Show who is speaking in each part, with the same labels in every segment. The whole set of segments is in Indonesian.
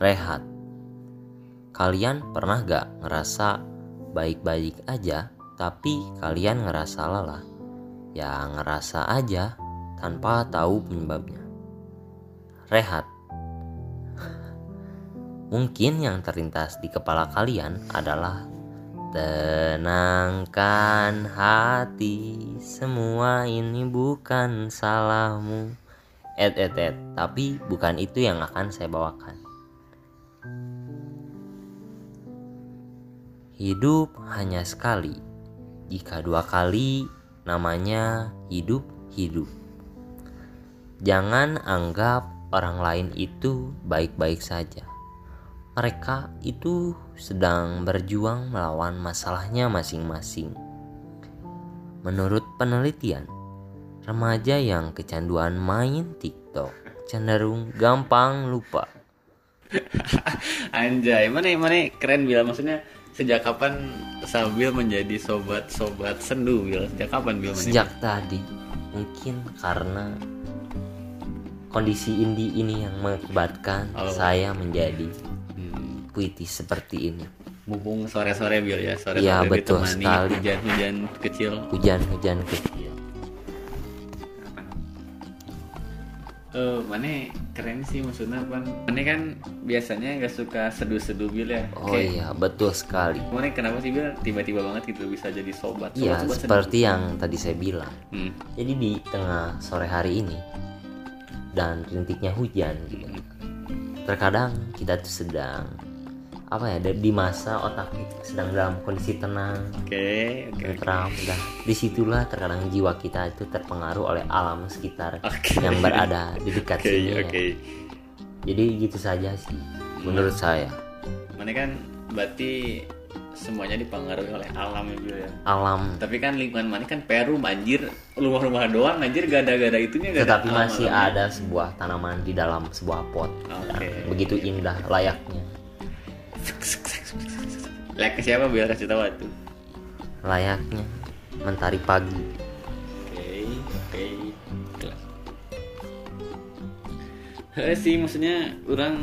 Speaker 1: rehat. Kalian pernah gak ngerasa baik-baik aja, tapi kalian ngerasa lelah? Ya ngerasa aja, tanpa tahu penyebabnya. Rehat. Mungkin yang terlintas di kepala kalian adalah Tenangkan hati, semua ini bukan salahmu. Et et et, tapi bukan itu yang akan saya bawakan. Hidup hanya sekali. Jika dua kali namanya hidup hidup. Jangan anggap orang lain itu baik-baik saja mereka itu sedang berjuang melawan masalahnya masing-masing. Menurut penelitian, remaja yang kecanduan main TikTok cenderung gampang lupa.
Speaker 2: Anjay, mana mana keren bila maksudnya sejak kapan Sabil menjadi sobat-sobat sendu bila sejak kapan bila
Speaker 1: Sejak tadi, mungkin karena kondisi Indi ini yang mengakibatkan
Speaker 2: Oh.
Speaker 1: saya menjadi
Speaker 2: Hmm.
Speaker 1: puitis seperti ini.
Speaker 2: mumpung sore-sore Bil ya sore-sore
Speaker 1: Iya, betul
Speaker 2: ditemani
Speaker 1: sekali.
Speaker 2: hujan-hujan kecil
Speaker 1: Hujan-hujan kecil.
Speaker 2: eh mana keren sih maksudnya pan mana kan biasanya nggak suka seduh-seduh Bil ya
Speaker 1: Oh iya, betul sekali.
Speaker 2: mana kenapa sih Bil tiba-tiba banget gitu bisa jadi sobat
Speaker 1: Iya,
Speaker 2: Sobat-sobat
Speaker 1: seperti yang tadi saya bilang.
Speaker 2: seduh. Hmm.
Speaker 1: Jadi di tengah sore hari ini dan rintiknya hujan, gitu. terkadang kita tuh sedang apa ya da- di masa otak kita sedang dalam kondisi tenang,
Speaker 2: oke oke oke.
Speaker 1: tentram, dan disitulah terkadang jiwa kita itu terpengaruh oleh alam sekitar
Speaker 2: Oke.
Speaker 1: yang berada di dekat
Speaker 2: oke
Speaker 1: sini. ya.
Speaker 2: oke
Speaker 1: Jadi gitu saja sih, menurut saya
Speaker 2: mana kan berarti semuanya dipengaruhi oleh alam ya Bil ya
Speaker 1: alam
Speaker 2: tapi kan lingkungan mana kan Peru anjir rumah-rumah doang anjir gada-gada itunya gak
Speaker 1: tetapi masih ada sebuah tanaman di dalam sebuah pot
Speaker 2: Oke.
Speaker 1: yang begitu indah layaknya
Speaker 2: Like ke siapa biar kasih tahu tuh.
Speaker 1: layaknya mentari pagi
Speaker 2: Oke, oke. Kelas. Eh sih maksudnya orang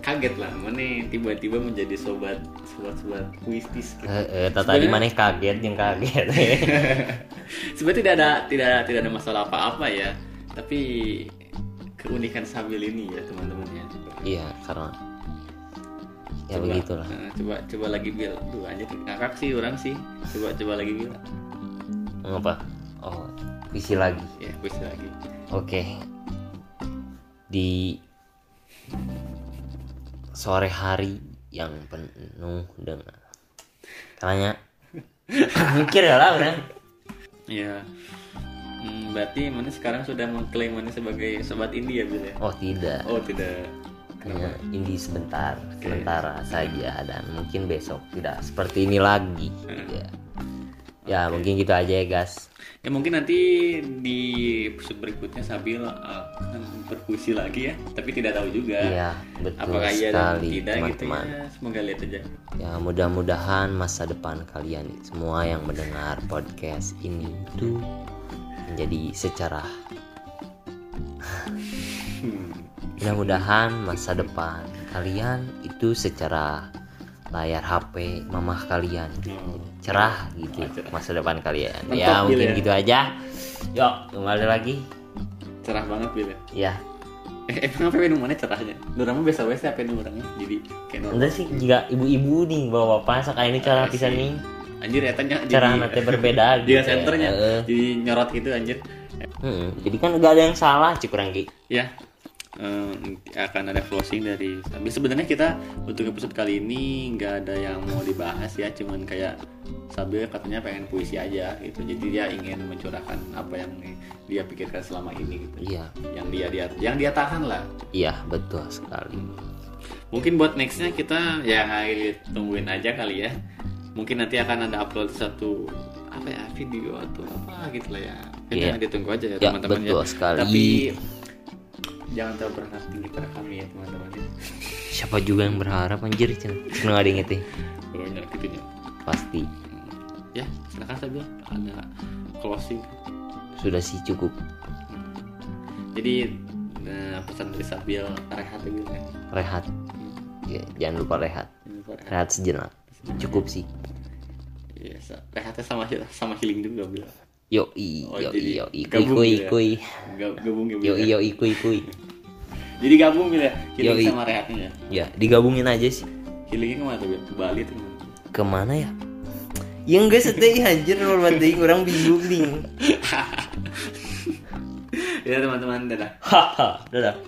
Speaker 2: kaget lah, mana tiba-tiba menjadi sobat sobat sobat puitis. gitu.
Speaker 1: Eh, eh, tadi
Speaker 2: Sebenarnya-
Speaker 1: mana kaget yang kaget
Speaker 2: Sebenarnya tidak ada tidak tidak ada masalah apa-apa ya, tapi keunikan sambil ini ya teman-teman ya.
Speaker 1: iya karena ya
Speaker 2: Coba,
Speaker 1: begitulah
Speaker 2: eh, coba coba lagi bil, tuh anjir ngakak sih orang sih. Coba coba lagi bil,
Speaker 1: ngapa oh puisi Iya, lagi
Speaker 2: ya puisi lagi.
Speaker 1: oke di sore hari yang penuh dengan karena mikir ya lah orang
Speaker 2: Iya. Hmm, berarti mana sekarang sudah mengklaim mana sebagai sobat India Bil ya?
Speaker 1: oh tidak
Speaker 2: Oh tidak.
Speaker 1: hanya ini sebentar sementara saja dan mungkin besok tidak seperti ini lagi ya ya mungkin gitu aja ya guys
Speaker 2: Ya mungkin nanti di episode berikutnya Sabil akan berpuisi lagi ya, tapi tidak tahu juga.
Speaker 1: iya betul
Speaker 2: Eh, Apakah iya dan
Speaker 1: sekali
Speaker 2: tidak gitu
Speaker 1: teman-teman
Speaker 2: ya? Semoga lihat aja.
Speaker 1: ya mudah-mudahan masa depan kalian semua yang mendengar podcast ini tuh menjadi secara
Speaker 2: Hmm.
Speaker 1: mudah-mudahan masa depan kalian itu secara layar HP mamah kalian
Speaker 2: Oh.
Speaker 1: cerah gitu
Speaker 2: Oh, cerah.
Speaker 1: masa depan kalian
Speaker 2: Mantap,
Speaker 1: ya mungkin
Speaker 2: Bil, ya.
Speaker 1: gitu aja yuk kembali lagi
Speaker 2: Cerah banget Bil. ya.
Speaker 1: ya
Speaker 2: Eh, emang apa menu mana cerahnya? Dorama biasa-biasa apa menu orangnya? Jadi kayak normal.
Speaker 1: enggak sih jika ibu-ibu nih bawa bapak sekali ini cerah pisan nih
Speaker 2: Anjir ya tanya
Speaker 1: cerah nanti berbeda ya.
Speaker 2: Dia senternya
Speaker 1: Heeh.
Speaker 2: jadi nyorot gitu anjir.
Speaker 1: Heeh. jadi kan gak ada yang salah cik kurang Ki.
Speaker 2: ya eh, akan ada closing dari tapi sebenarnya kita untuk episode kali ini nggak ada yang mau dibahas ya cuman kayak Sabil katanya pengen puisi aja gitu jadi dia ingin mencurahkan apa yang dia pikirkan selama ini gitu
Speaker 1: iya
Speaker 2: yang dia dia yang dia tahan lah
Speaker 1: iya betul sekali
Speaker 2: mungkin buat nextnya kita ya tungguin aja kali ya mungkin nanti akan ada upload satu apa ya video atau apa gitu lah ya
Speaker 1: Iya.
Speaker 2: kita ditunggu aja ya
Speaker 1: Ya,
Speaker 2: teman-teman
Speaker 1: betul sekali.
Speaker 2: tapi jangan terlalu berharap tinggi pada kami ya teman-teman
Speaker 1: Iya.
Speaker 2: ya.
Speaker 1: siapa juga yang berharap anjir cina cina gak ada yang ngerti.
Speaker 2: Oh, ya, gitu ya
Speaker 1: pasti
Speaker 2: ya silakan saja ada closing
Speaker 1: sudah sih cukup
Speaker 2: jadi eh, pesan dari Sabil rehat dulu ya
Speaker 1: rehat Ya, jangan lupa rehat
Speaker 2: Jangan lupa rehat.
Speaker 1: rehat sejenak cukup sih
Speaker 2: Iya, sa- rehatnya sama sama healing juga bilang.
Speaker 1: yo i
Speaker 2: Oh,
Speaker 1: yo
Speaker 2: jadi
Speaker 1: i yo i kui
Speaker 2: gabung
Speaker 1: kui
Speaker 2: gitu ya.
Speaker 1: kui
Speaker 2: Ga- Gabung ya. Bil,
Speaker 1: yo i
Speaker 2: ya?
Speaker 1: yo i kui kui
Speaker 2: Jadi gabung bila healing
Speaker 1: Yoi.
Speaker 2: sama rehatnya ya.
Speaker 1: ya digabungin aja sih
Speaker 2: Healingnya kemana tuh? Bil? Ke Bali tuh. kemana?
Speaker 1: kemana ya yang enggak sedih anjir normal deh orang bingung nih
Speaker 2: ya teman-teman dadah.
Speaker 1: haha dadah